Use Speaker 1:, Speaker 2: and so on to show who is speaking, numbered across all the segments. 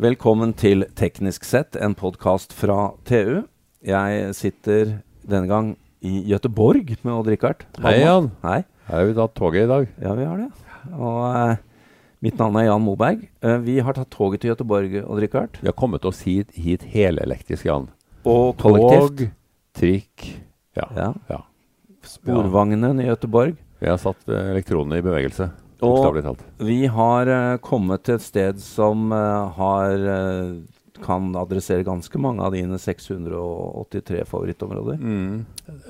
Speaker 1: Velkommen til Teknisk sett, en podkast fra TU. Jeg sitter denne gang i Gøteborg med Odd-Rikard.
Speaker 2: Hei, Jan.
Speaker 1: Hei.
Speaker 2: Her har vi tatt toget i dag.
Speaker 1: Ja, vi har det. Og eh, mitt navn er Jan Moberg. Eh, vi har tatt toget til Gøteborg, Odd-Rikard.
Speaker 2: Vi har kommet oss hit, hit helelektrisk, Jan.
Speaker 1: Og
Speaker 2: Tog,
Speaker 1: kollektivt.
Speaker 2: trikk ja.
Speaker 1: Ja.
Speaker 2: ja.
Speaker 1: Sporvognen i Gøteborg.
Speaker 2: Vi har satt eh, elektronene i bevegelse.
Speaker 1: Og-
Speaker 2: Bokstavelig talt.
Speaker 1: Vi har eh, kommet til et sted som eh, har eh, kan adressere ganske mange av dine 683
Speaker 2: Mm.
Speaker 1: favorittområder.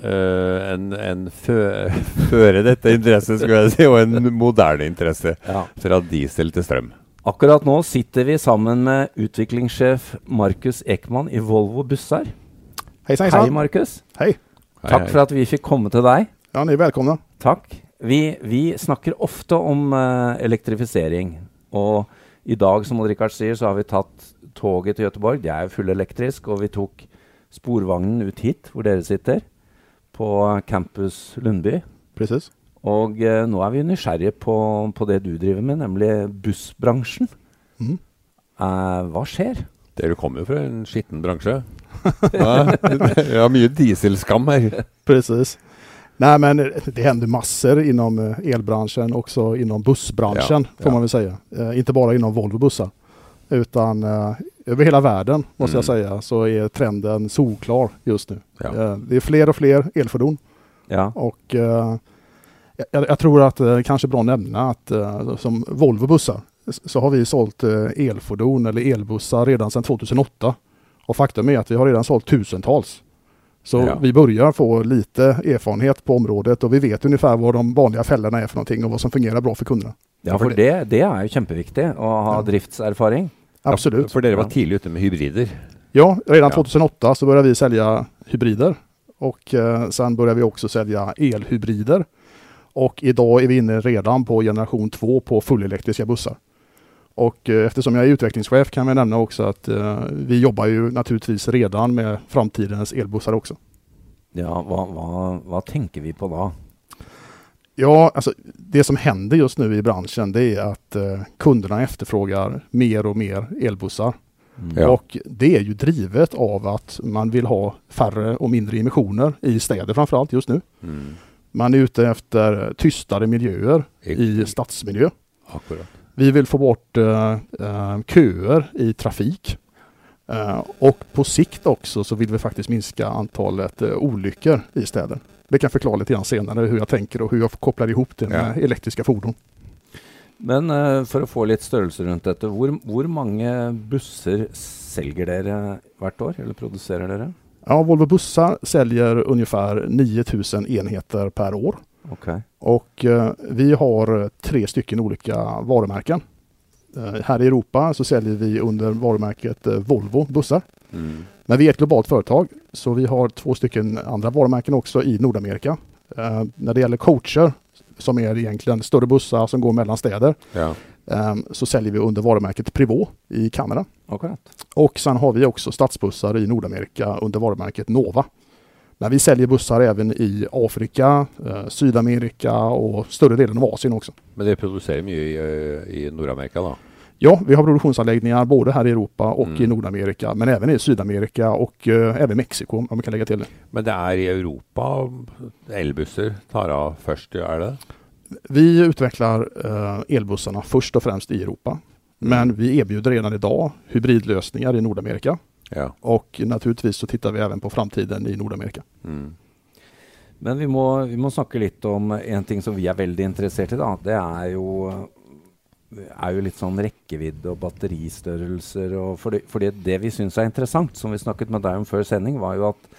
Speaker 2: Eh, en en fø føre dette interesse, skulle jeg si, og en moderne interesse.
Speaker 1: Ja.
Speaker 2: Fra diesel til strøm.
Speaker 1: Akkurat nå sitter vi sammen med utviklingssjef Markus Ekman i Volvo Bussar.
Speaker 3: Hei sann,
Speaker 1: Hei,
Speaker 3: sann.
Speaker 1: Markus.
Speaker 3: Hei.
Speaker 1: Takk for at vi fikk komme til deg.
Speaker 3: Ja, ni är välkomna.
Speaker 1: Takk. Vi, vi snakker ofte om eh, elektrifisering. Og i dag, som Odd-Rikard sier, så har vi tatt toget til Gøteborg. Det er jo fullelektrisk. Og vi tok sporvognen ut hit, hvor dere sitter, på campus Lundby.
Speaker 3: Precis.
Speaker 1: Og eh, nå er vi nysgjerrige på, på det du driver med, nemlig bussbransjen.
Speaker 3: Mhm.
Speaker 1: Eh, hva skjer?
Speaker 2: Dere kommer jo fra en skitten bransje. Ja, vi har mye dieselskam her.
Speaker 3: Precis. Nej, men det händer massor inom eh, elbranschen, också inom bussbranschen
Speaker 2: Ja,
Speaker 3: får
Speaker 2: ja.
Speaker 3: man väl säga. Eh, inte bara inom Volvo bussar, utan eh, över hela världen måste jag säga så är trenden solklar just nu.
Speaker 2: Mm. Ja.
Speaker 3: Eh, det är fler och fler elfordon
Speaker 1: Ja.
Speaker 3: och eh, jag, jag tror att eh, kanske bra att nämna att eh, som Volvo bussar s- så har vi sålt eh, elfordon eller elbussar redan sedan 2008. Och faktum är att vi har redan sålt tusentals. Så
Speaker 2: Ja.
Speaker 3: vi börjar få lite erfarenhet på området och vi vet ungefär vad de vanliga fällorna är för någonting och vad som fungerar bra för kunderna.
Speaker 1: Ja, for det, det er jo kjempeviktig å ha driftserfaring.
Speaker 3: Absolut.
Speaker 2: For dere var
Speaker 1: Ja.
Speaker 2: tidlig ute med hybrider.
Speaker 3: Ja, redan
Speaker 2: Ja.
Speaker 3: 2008 så började vi sälja hybrider och eh, sen började vi också sälja elhybrider. Och idag är vi inne redan på generation 2 på fullelektriska bussar. Och eh, eftersom jag är utvecklingschef kan vi nämna också att eh, vi jobbar ju naturligtvis redan med framtidens elbussar också.
Speaker 1: Ja, hva, hva, hva tenker vi på da?
Speaker 3: Ja, alltså det som händer just nu i branschen det är att eh, kunderna efterfrågar mer och mer elbussar.
Speaker 1: Mm.
Speaker 2: Ja.
Speaker 3: Och det är ju drivet av att man vill ha färre och mindre emissioner i städer framförallt just nu.
Speaker 2: Mm.
Speaker 3: Man är ute efter tystare miljöer
Speaker 2: I-
Speaker 3: i stadsmiljö.
Speaker 2: Akkurat.
Speaker 3: Vi vill få bort eh, eh, köer i trafik. Eh, och på sikt också så vill vi faktiskt minska antalet eh, olyckor i städer. Det kan jag förklara lite grann senare hur jag tänker och hur jag kopplar ihop det med elektriska fordon.
Speaker 1: Men eh, for å få litt størrelse rundt dette, hvor, hvor mange busser selger dere hvert år? Eller produserer dere?
Speaker 3: Ja, Volvo Bussar säljer ungefär 9000 enheter per år.
Speaker 1: Ok.
Speaker 3: Och eh, vi har tre stycken olika varumärken. Eh, här i Europa så säljer vi under varumärket eh, Volvo bussar.
Speaker 2: Mm.
Speaker 3: Men vi är ett globalt företag så vi har två stycken andra varumärken också i Nordamerika. Eh, när det gäller coacher som är egentligen större bussar som går mellan städer
Speaker 2: Ja.
Speaker 3: eh, så säljer vi under varumärket Privå i Kanada.
Speaker 1: Akkurat.
Speaker 3: Och sen har vi också stadsbussar i Nordamerika under varumärket Nova. Men vi säljer bussar även i Afrika, eh, Sydamerika och större delen av Asien också.
Speaker 2: Men dere produserer mye i, eh, i Nord-Amerika, da?
Speaker 3: Ja, vi har produktionsanläggningar både här i Europa och i
Speaker 2: Mm.
Speaker 3: Nordamerika, men även i Sydamerika och eh, även Mexiko om man kan lägga till det.
Speaker 2: Men det er i Europa elbusser tar av først, er det?
Speaker 3: Vi utvecklar eh, elbussarna först och främst i Europa, men vi erbjuder redan idag hybridlösningar i Nordamerika
Speaker 2: Ja.
Speaker 3: och naturligtvis så tittar vi även på framtiden i Nordamerika.
Speaker 2: Mm.
Speaker 1: Men vi må, vi må snakke litt om en ting som vi er veldig interessert i. da. Det er jo, er jo litt sånn rekkevidde og batteristørrelser. Og fordi, fordi det vi syns er interessant, som vi snakket med deg om før sending, var jo at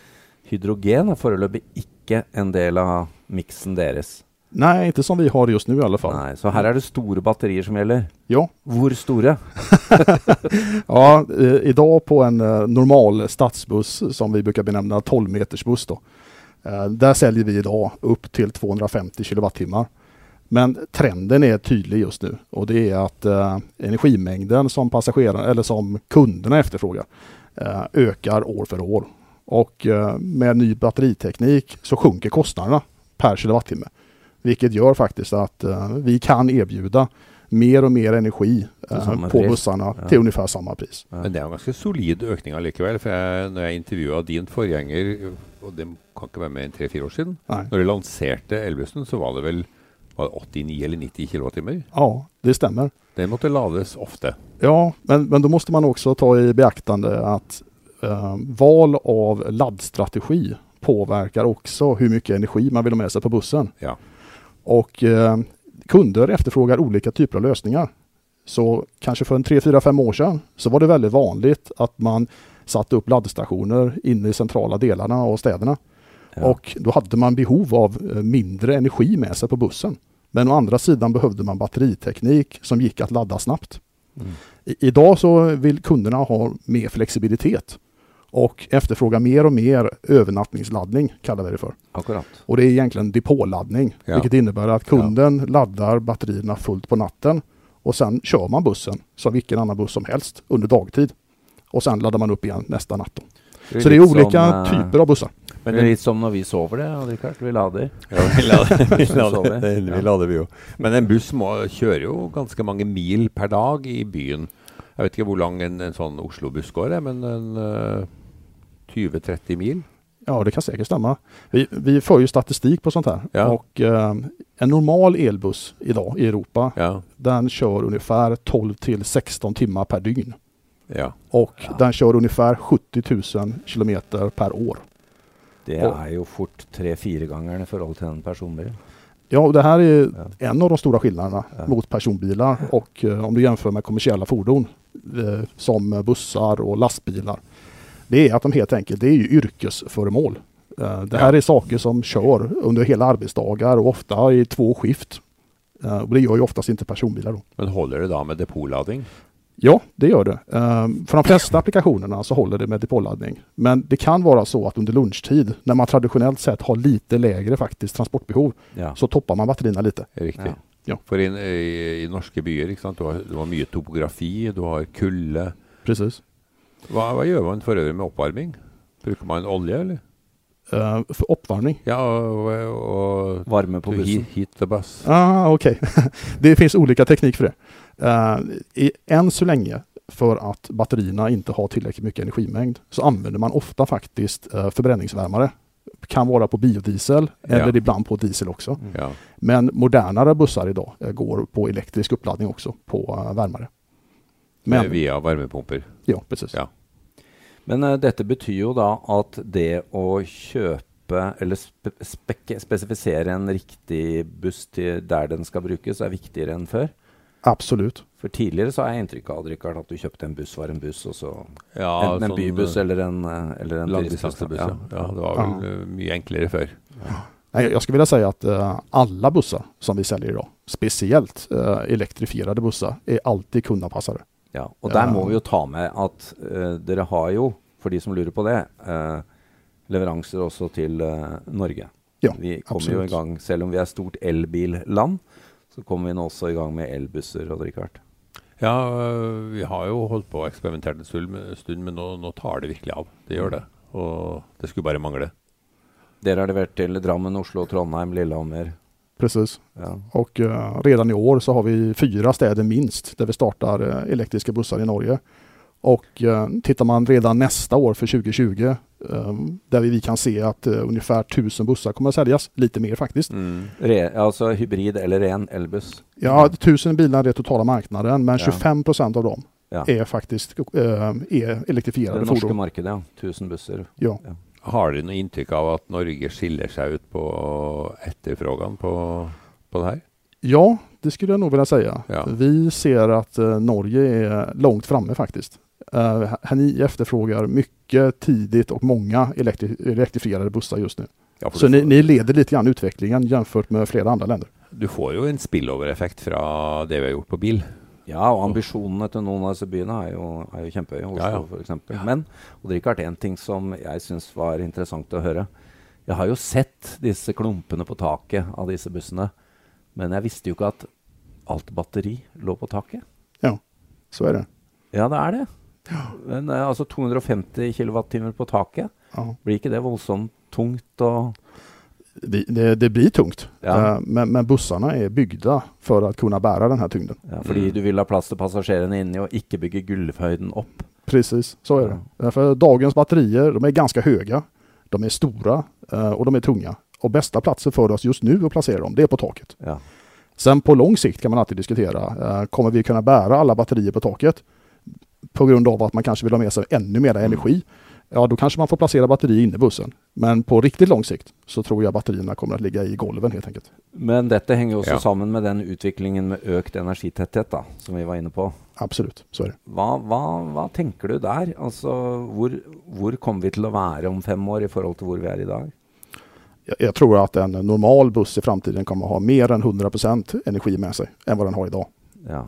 Speaker 1: hydrogen er foreløpig ikke en del av miksen deres.
Speaker 3: Nej, inte som vi har just nu i alla fall.
Speaker 1: Nei, så her er det store batterier som gjelder.
Speaker 3: Ja,
Speaker 1: Hvor store?
Speaker 3: Ja, eh, idag på en eh, normal stadsbuss som vi brukar benämna 12 meters buss då. Eh, där säljer vi idag upp till 250 kilowattimmar. Men trenden är tydlig just nu och det är att eh, energimängden som passagerarna eller som kunderna efterfrågar eh, ökar år för år. Och eh, med ny batteriteknik så sjunker kostnaderna per kilowattimme. Vilket gör faktiskt att eh, vi kan erbjuda mer och mer energi eh,
Speaker 1: samma
Speaker 3: på
Speaker 1: pris.
Speaker 3: bussarna
Speaker 1: Ja.
Speaker 3: till ungefär samma pris.
Speaker 2: Men det er en ganske solid økning allikevel. For jeg, når jeg intervjua din forgjenger, og det kan ikke være mer enn tre-fire år siden,
Speaker 3: Nej.
Speaker 2: når de lanserte elbussen, så var det vel var det 89 eller 90 kWt.
Speaker 3: Ja, det stämmer.
Speaker 2: Den måtte lades ofte.
Speaker 3: Ja, men, men då måste man också ta i beaktande att eh, val av laddstrategi påverkar också hur mycket energi man vill ha med sig på bussen.
Speaker 2: Ja.
Speaker 3: Och eh, kunder efterfrågar olika typer av lösningar. Så kanske för en 3, 4, 5 år sedan så var det väldigt vanligt att man satte upp laddstationer inne i centrala delarna av städerna.
Speaker 1: Ja.
Speaker 3: Och då hade man behov av eh, mindre energi med sig på bussen. Men å andra sidan behövde man batteriteknik som gick att ladda snabbt.
Speaker 1: Mm.
Speaker 3: I, idag så vill kunderna ha mer flexibilitet och efterfråga mer och mer övernattningsladdning, kallar vi det för.
Speaker 1: Akkurat.
Speaker 3: Och det är egentligen depåladdning,
Speaker 2: Ja.
Speaker 3: vilket innebär att kunden laddar batterierna fullt på natten och sen kör man bussen som vilken annan buss som helst under dagtid. Och sen laddar man upp igen nästa natt. Då. Så det är
Speaker 1: litt
Speaker 3: olika
Speaker 1: som, eh,
Speaker 3: typer av bussar.
Speaker 1: Men det är lite som när vi sover det, Richard. Vi laddar.
Speaker 2: Ja, vi lader, vi,
Speaker 1: Så
Speaker 2: lader,
Speaker 1: vi.
Speaker 2: vi
Speaker 1: Ja.
Speaker 2: lader vi jo. Men en buss må, kjører jo ganske mange mil per dag i byen. Jeg vet ikke hvor lang en, en sånn Oslo-buss går, jeg, men en eh, 20-30 mil?
Speaker 3: Ja, det kan säkert stämma. Vi, vi för ju statistik på sånt här.
Speaker 2: Ja.
Speaker 3: Och eh, en normal elbuss idag i Europa,
Speaker 2: Ja.
Speaker 3: den kör ungefär 12 till 16 timmar per dygn.
Speaker 2: ja.
Speaker 3: Och
Speaker 1: Ja.
Speaker 3: den kör ungefär 70 000 kilometer per år.
Speaker 1: Det
Speaker 3: Ja.
Speaker 1: är ju fort tre-fyra gånger i förhållande till en personbil.
Speaker 3: Ja, och det här är
Speaker 1: Ja.
Speaker 3: en av de stora skillnaderna
Speaker 1: Ja.
Speaker 3: mot personbilar och eh, om du jämför med kommersiella fordon eh, som bussar och lastbilar. Det är att de helt enkelt, det är ju yrkesföremål. Eh, det här är saker som kör under hela arbetsdagar och ofta i två skift. Eh, och det gör ju oftast inte personbilar då.
Speaker 2: Men holder det da med depotlading?
Speaker 3: Ja, det gör det. Ehm, För de flesta applikationerna så håller det med depåladdning. Men det kan vara så att under lunchtid, när man traditionellt sett har lite lägre faktiskt transportbehov,
Speaker 1: Ja.
Speaker 3: så toppar man batterierna lite.
Speaker 2: Riktig.
Speaker 1: Ja.
Speaker 3: Ja.
Speaker 2: For i, i, i norske byer, ikke sant? Du, har, du har mye topografi, du har kulde.
Speaker 3: Precis.
Speaker 2: Hva, hva gjør man for øvrig med oppvarming? Bruker man olje, eller?
Speaker 3: Ehm, För uppvärmning.
Speaker 2: Ja, og, og
Speaker 1: Varme på
Speaker 2: to
Speaker 1: bussen.
Speaker 2: heat, heat the bus.
Speaker 3: Ah, Okej, det finns olika teknik för det. Eh, i, än så länge, för att batterierna inte har tillräckligt mycket energimängd, så använder man ofta faktiskt eh, förbränningsvärmare. Kan vara på biodiesel
Speaker 2: Ja.
Speaker 3: eller ibland på diesel också.
Speaker 1: Mm.
Speaker 2: Ja.
Speaker 3: Men modernare bussar idag eh, går på elektrisk uppladdning också på eh, värmare. Men,
Speaker 2: Via varmepumper.
Speaker 3: ja, precis.
Speaker 2: Ja.
Speaker 1: Men eh, dette betyr jo da at det å kjøpe eller spe spek- spesifisere en riktig buss til der den skal brukes, er viktigere enn før.
Speaker 3: Absolut.
Speaker 1: For tidligere så har jeg inntrykk av Richard, at du kjøpte en buss var en buss, og så
Speaker 2: Ja,
Speaker 1: enten en
Speaker 2: sånn,
Speaker 1: bybuss eller en, eh, eller en
Speaker 2: Langdistansebuss, ja.
Speaker 1: turistbuss,
Speaker 2: ja. Det var vel eh, mye enklere før.
Speaker 3: Nej, jag skulle vilja säga att eh, alla bussar som vi säljer idag, speciellt eh, elektrifierade bussar, är alltid kundanpassade.
Speaker 1: Ja, og
Speaker 3: Ja.
Speaker 1: der må vi jo ta med at eh, dere har jo, for de som lurer på det, eh, leveranser også til eh, Norge.
Speaker 3: Ja,
Speaker 1: vi kommer jo
Speaker 3: absolut.
Speaker 1: i gang, selv om vi er stort elbilland, så kommer vi nå også i gang med elbusser og drikkart.
Speaker 2: Ja, øh, vi har jo holdt på og eksperimentert en stund, men- stund men nå, nå tar det virkelig av. Det gjør det. Og det skulle bare mangle.
Speaker 1: Dere har levert til Drammen, Oslo, Trondheim, Lillehammer.
Speaker 3: Precis.
Speaker 1: Ja.
Speaker 3: Och eh, redan i år så har vi fyra städer minst där vi startar eh, elektriska bussar i Norge. Och eh, tittar man redan nästa år för 2020 eh, där vi, vi kan se att eh, ungefär 1000 bussar kommer att säljas, lite mer faktiskt.
Speaker 1: Re, altså hybrid eller ren elbuss.
Speaker 3: Ja, 1000 bilar är den totala marknaden men
Speaker 1: Mm. Ja.
Speaker 3: 25 procent av dem
Speaker 1: Ja.
Speaker 3: är faktiskt eh, är
Speaker 1: Det
Speaker 3: elektrifierade
Speaker 1: norske
Speaker 3: fordon.
Speaker 1: markedet, ja. 1000 busser.
Speaker 3: Ja.
Speaker 2: Har dere noe inntrykk av at Norge skiller seg ut på etterfrågan på, på det her?
Speaker 3: ja, det skulle jag nog vilja säga.
Speaker 2: Ja.
Speaker 3: Vi ser att eh, Norge är långt framme faktiskt. Eh, här ni efterfrågar mycket tidigt och många elektri- elektrifierade bussar just nu.
Speaker 2: Ja, for
Speaker 3: Så
Speaker 2: du,
Speaker 3: ni, ni leder lite grann utvecklingen jämfört med flera andra länder.
Speaker 2: du får jo en spillover-effekt fra det vi har gjort på bil.
Speaker 1: Ja, og ambisjonene til noen av disse byene er jo, er jo kjempehøye. Oslo,
Speaker 2: Ja, ja.
Speaker 1: for eksempel. Men og det har ikke vært én ting som jeg syns var interessant å høre. Jeg har jo sett disse klumpene på taket av disse bussene, men jag visste jo ikke at alt batteri lå på taket.
Speaker 3: Ja, så är det.
Speaker 1: Ja, det er det. Men eh, altså 250 kWt på taket,
Speaker 3: Ja.
Speaker 1: blir ikke det voldsomt tungt og
Speaker 3: vi, det, det blir tungt.
Speaker 1: Ja.
Speaker 3: Eh, Men, men bussarna är byggda för att kunna bära den här tyngden.
Speaker 1: Ja, fordi
Speaker 2: Mm.
Speaker 1: du vil ha plass til passasjerene inni og ikke bygge gulvhøyden opp.
Speaker 3: Precis, så är det. Därför dagens batterier, de är ganska höga, de är stora eh, och de är tunga. Och bästa platsen för oss just nu att placera dem, det är på taket.
Speaker 1: Ja.
Speaker 3: Sen på lång sikt kan man alltid diskutera, eh, kommer vi kunna bära alla batterier på taket? På grund av att man kanske vill ha med sig ännu mer energi. Ja, då kanske man får placera batterier inne i bussen. Men på riktigt lång sikt så tror jag batterierna kommer att ligga i golven helt enkelt.
Speaker 1: Men dette henger jo også
Speaker 2: Ja.
Speaker 1: sammen med den utviklingen med økt energitetthet, da, som vi var inne på.
Speaker 3: Absolut, så är det.
Speaker 1: Hva, hva, hva tenker du der? Altså, hvor, hvor kommer vi til å være om fem år i forhold til hvor vi er i dag?
Speaker 3: Jag, jag tror att en normal buss i framtiden kommer att ha mer än 100% energi med sig än vad den har idag.
Speaker 1: Ja.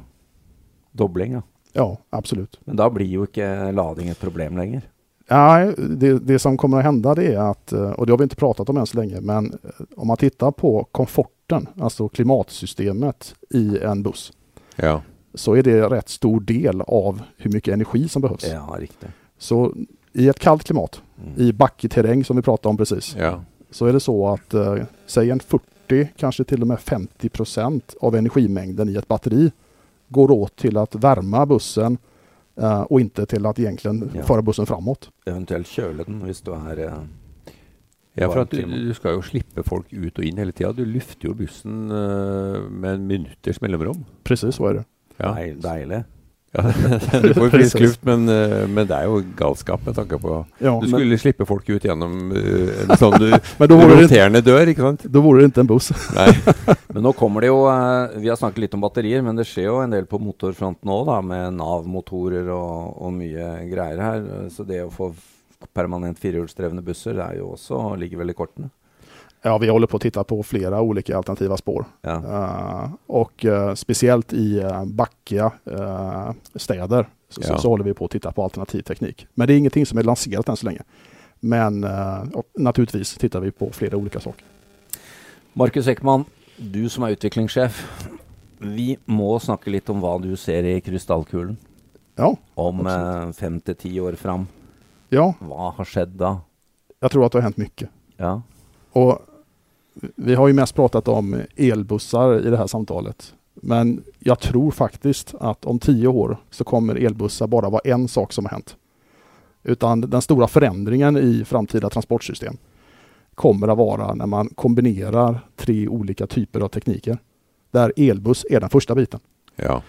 Speaker 1: Dobling, ja.
Speaker 3: Ja, absolut.
Speaker 1: Men da blir jo ikke lading et problem lenger.
Speaker 3: Nej, det, det som kommer att hända det är att, eh, och det har vi inte pratat om än så länge, men eh, om man tittar på komforten, alltså klimatsystemet i en buss,
Speaker 2: Ja.
Speaker 3: så är det rätt stor del av hur mycket energi som behövs.
Speaker 1: Ja, riktig.
Speaker 3: Så i ett kallt klimat,
Speaker 1: Mm.
Speaker 3: i backig terräng som vi pratade om precis,
Speaker 2: ja.
Speaker 3: så är det så att eh, säg en 40, kanske till och med 50 procent av energimängden i ett batteri går åt till att värma bussen eh, och inte till att egentligen
Speaker 1: Ja.
Speaker 3: föra bussen framåt.
Speaker 1: Eventuelt kjøle den hvis du er eh,
Speaker 2: Ja, for
Speaker 1: Varmt
Speaker 2: at du,
Speaker 1: klima.
Speaker 2: du skal jo slippe folk ut og inn hele tida. Du lufter jo bussen eh, med en minutters mellomrom.
Speaker 3: Precis så är det.
Speaker 2: Ja.
Speaker 1: deil- deilig.
Speaker 2: Ja, du får jo
Speaker 3: Precis.
Speaker 2: frisk luft, men, eh, men det er jo galskap med tanke på
Speaker 3: Ja,
Speaker 2: Du
Speaker 3: men-
Speaker 2: skulle slippe folk ut gjennom eh, en sånn du-
Speaker 3: Men då vore, det, inte-
Speaker 2: roterende dør, ikke sant?
Speaker 3: då vore det inte en buss.
Speaker 2: Nei.
Speaker 1: Men nå kommer det jo eh, Vi har snakket litt om batterier, men det skjer jo en del på motorfronten òg, da, med Nav-motorer og, og mye greier her. Så det å få f- permanent firehjulsdrevne busser det er jo også ligger vel i kortene.
Speaker 3: Ja, vi håller på att titta på flera olika alternativa spår.
Speaker 1: Ja.
Speaker 3: Eh, och eh, speciellt i uh, backiga eh, städer så, så,
Speaker 2: Ja.
Speaker 3: så håller vi på att titta på alternativ teknik. Men det är ingenting som är lanserat än så länge. Men eh, och naturligtvis tittar vi på flera olika saker.
Speaker 1: Markus Ekman, du som er utviklingssjef. Vi må snakke litt om hva du ser i krystallkulen
Speaker 3: Ja,
Speaker 1: om eh, fem til ti år fram.
Speaker 3: ja,
Speaker 1: Hva har skjedd da?
Speaker 3: jag tror att det har hänt mycket.
Speaker 1: Ja.
Speaker 3: Och vi har ju mest pratat om elbussar i det här samtalet. Men jag tror faktiskt att om tio år så kommer elbussar bara vara en sak som har hänt. Utan den stora förändringen i framtida transportsystem kommer att vara när man kombinerar tre olika typer av tekniker. Där elbuss är den första biten.
Speaker 2: Ja.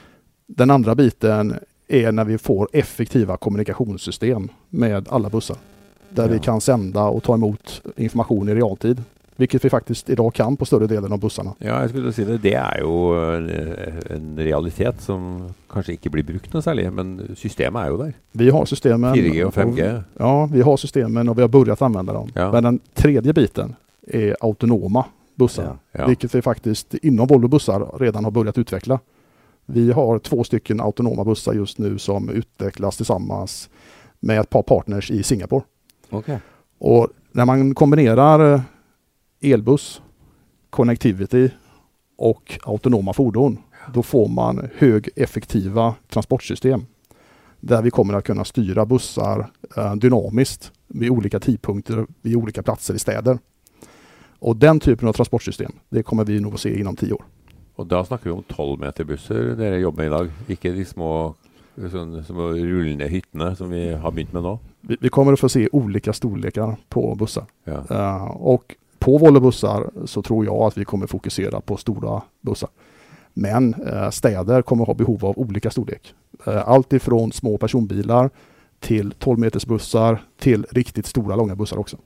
Speaker 3: Den andra biten är när vi får effektiva kommunikationssystem med alla bussar. Där vi
Speaker 1: Ja.
Speaker 3: kan sända och ta emot information i realtid. Vilket vi faktiskt idag kan på större delen av bussarna.
Speaker 2: ja, jeg skulle si det. Det er jo en, eh, en realitet som kanskje ikke blir brukt noe særlig, men systemet er jo der.
Speaker 3: Vi har systemen.
Speaker 2: 4G og 5G.
Speaker 3: Ja, vi har systemen og vi har börjat använda dem.
Speaker 2: Ja.
Speaker 3: Men den tredje biten är autonoma bussar.
Speaker 1: Ja.
Speaker 2: Ja.
Speaker 3: Vilket vi faktiskt inom Volvo bussar redan har börjat utveckla. Vi har två stycken autonoma bussar just nu som utvecklas tillsammans med ett par partners i Singapore.
Speaker 1: Ok.
Speaker 3: Och när man kombinerar eh, elbuss, connectivity och autonoma fordon, då får man hög effektiva transportsystem. Där vi kommer att kunna styra bussar eh, dynamiskt vid olika tidpunkter, vid olika platser i städer. Och den typen av transportsystem, det kommer vi nog att se inom tio år.
Speaker 2: Og da snakker vi om tolvmeterbusser dere jobber med i dag, ikke de små sånn, små rullende hyttene som vi har begynt med nå.
Speaker 3: Vi, vi kommer att få se olika storlekar på bussar.
Speaker 2: Ja.
Speaker 3: Eh, och på Volvo bussar så tror jag att vi kommer fokusera på stora bussar. Men eh, städer kommer ha behov av olika storlek. Eh, allt ifrån små personbilar till 12 meters bussar till riktigt stora långa bussar också.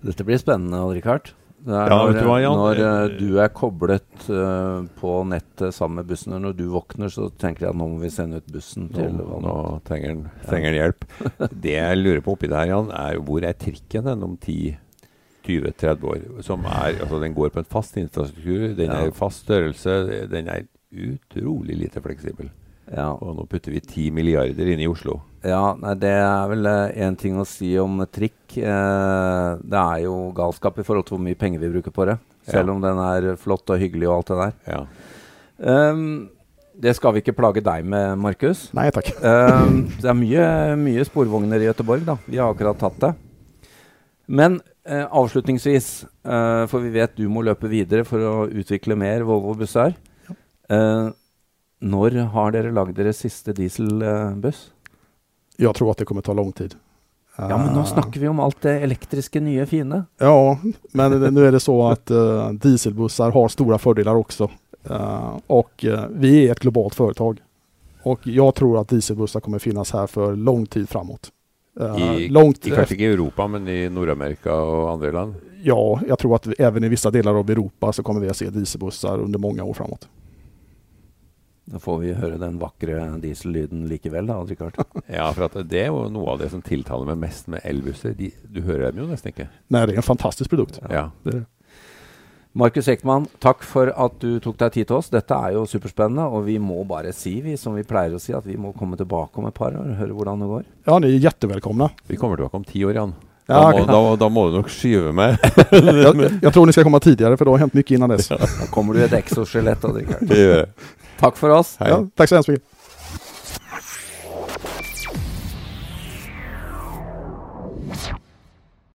Speaker 1: Dette blir spennende, Odd-Rikard. Det er
Speaker 2: Ja,
Speaker 1: når,
Speaker 2: vet du hva, Jan?
Speaker 1: når eh, du er koblet eh, på nettet sammen med bussen, og når du våkner, så tenker jeg at nå må vi sende ut bussen
Speaker 2: Nå,
Speaker 1: til
Speaker 2: nå
Speaker 1: vannet.
Speaker 2: trenger han trenger han hjelp. Det jeg lurer på oppi det her, Jan, er jo hvor er trikken den om 10-20-30 år? Som er, altså Den går på en fast infrastruktur, den
Speaker 1: Ja.
Speaker 2: er fast størrelse, den er utrolig lite fleksibel.
Speaker 1: Ja.
Speaker 2: Og nå putter vi 10 milliarder inn i Oslo.
Speaker 1: Ja, nei, det er vel én ting å si om trikk. Eh, det er jo galskap i forhold til hvor mye penger vi bruker på det. Selv
Speaker 2: Ja.
Speaker 1: om den er flott och hyggelig og alt det der.
Speaker 2: Ja.
Speaker 1: Ehm, det skal vi ikke plage deg med, Markus.
Speaker 3: Nej tack.
Speaker 1: Ehm, det er mye, mye sporvogner i Göteborg, da. Vi har akkurat tatt det. Men eh, avslutningsvis, eh, for vi vet du må løpe videre for å utvikle mer Volvo-busser. Eh, når har dere lagd deres siste dieselbuss?
Speaker 3: Jag tror att det kommer ta lång tid.
Speaker 1: Ja, men nå
Speaker 3: Eh,
Speaker 1: snakker vi om alt det elektriske nye fine.
Speaker 3: Ja, men nu är det så att eh, dieselbussar har stora fördelar också. Eh, och eh, vi är ett globalt företag. Och jag tror att dieselbussar kommer finnas här för lång tid framåt. Eh,
Speaker 2: I-
Speaker 3: långt
Speaker 2: I, kanskje ikke i Europa, men i Nord-Amerika og andre land.
Speaker 3: efter- Ja, jag tror att vi, även i vissa delar av Europa så kommer vi att se dieselbussar under många år framåt.
Speaker 1: Da får vi høre den vakre diesellyden likevel, da, Richard.
Speaker 2: Ja, for at det er jo noe av det som tiltaler meg mest med elbusser. De, du hører dem jo nesten ikke.
Speaker 3: Nej, det är en fantastisk produkt.
Speaker 2: Ja.
Speaker 3: Det är det.
Speaker 1: Markus Ekman, takk for at du tok deg tid til oss. Dette er jo superspennende, og vi må bare si, vi, som vi pleier å si, at vi må komme tilbake om et par år og høre hvordan det går.
Speaker 3: Ja, ni är jättevälkomna.
Speaker 2: Vi kommer tilbake om ti år, Jan. Da,
Speaker 3: Ja,
Speaker 2: må,
Speaker 3: kan-
Speaker 2: da, da må du nok skyve meg.
Speaker 3: jag, jag tror ni ska komma tidigare för det har hänt mycket innan dess.
Speaker 1: Da kommer du i et exoskelett av Richard.
Speaker 2: Det gjør jeg.
Speaker 1: Takk for oss.
Speaker 2: Hei.
Speaker 3: Ja, tack så hemskt mycket.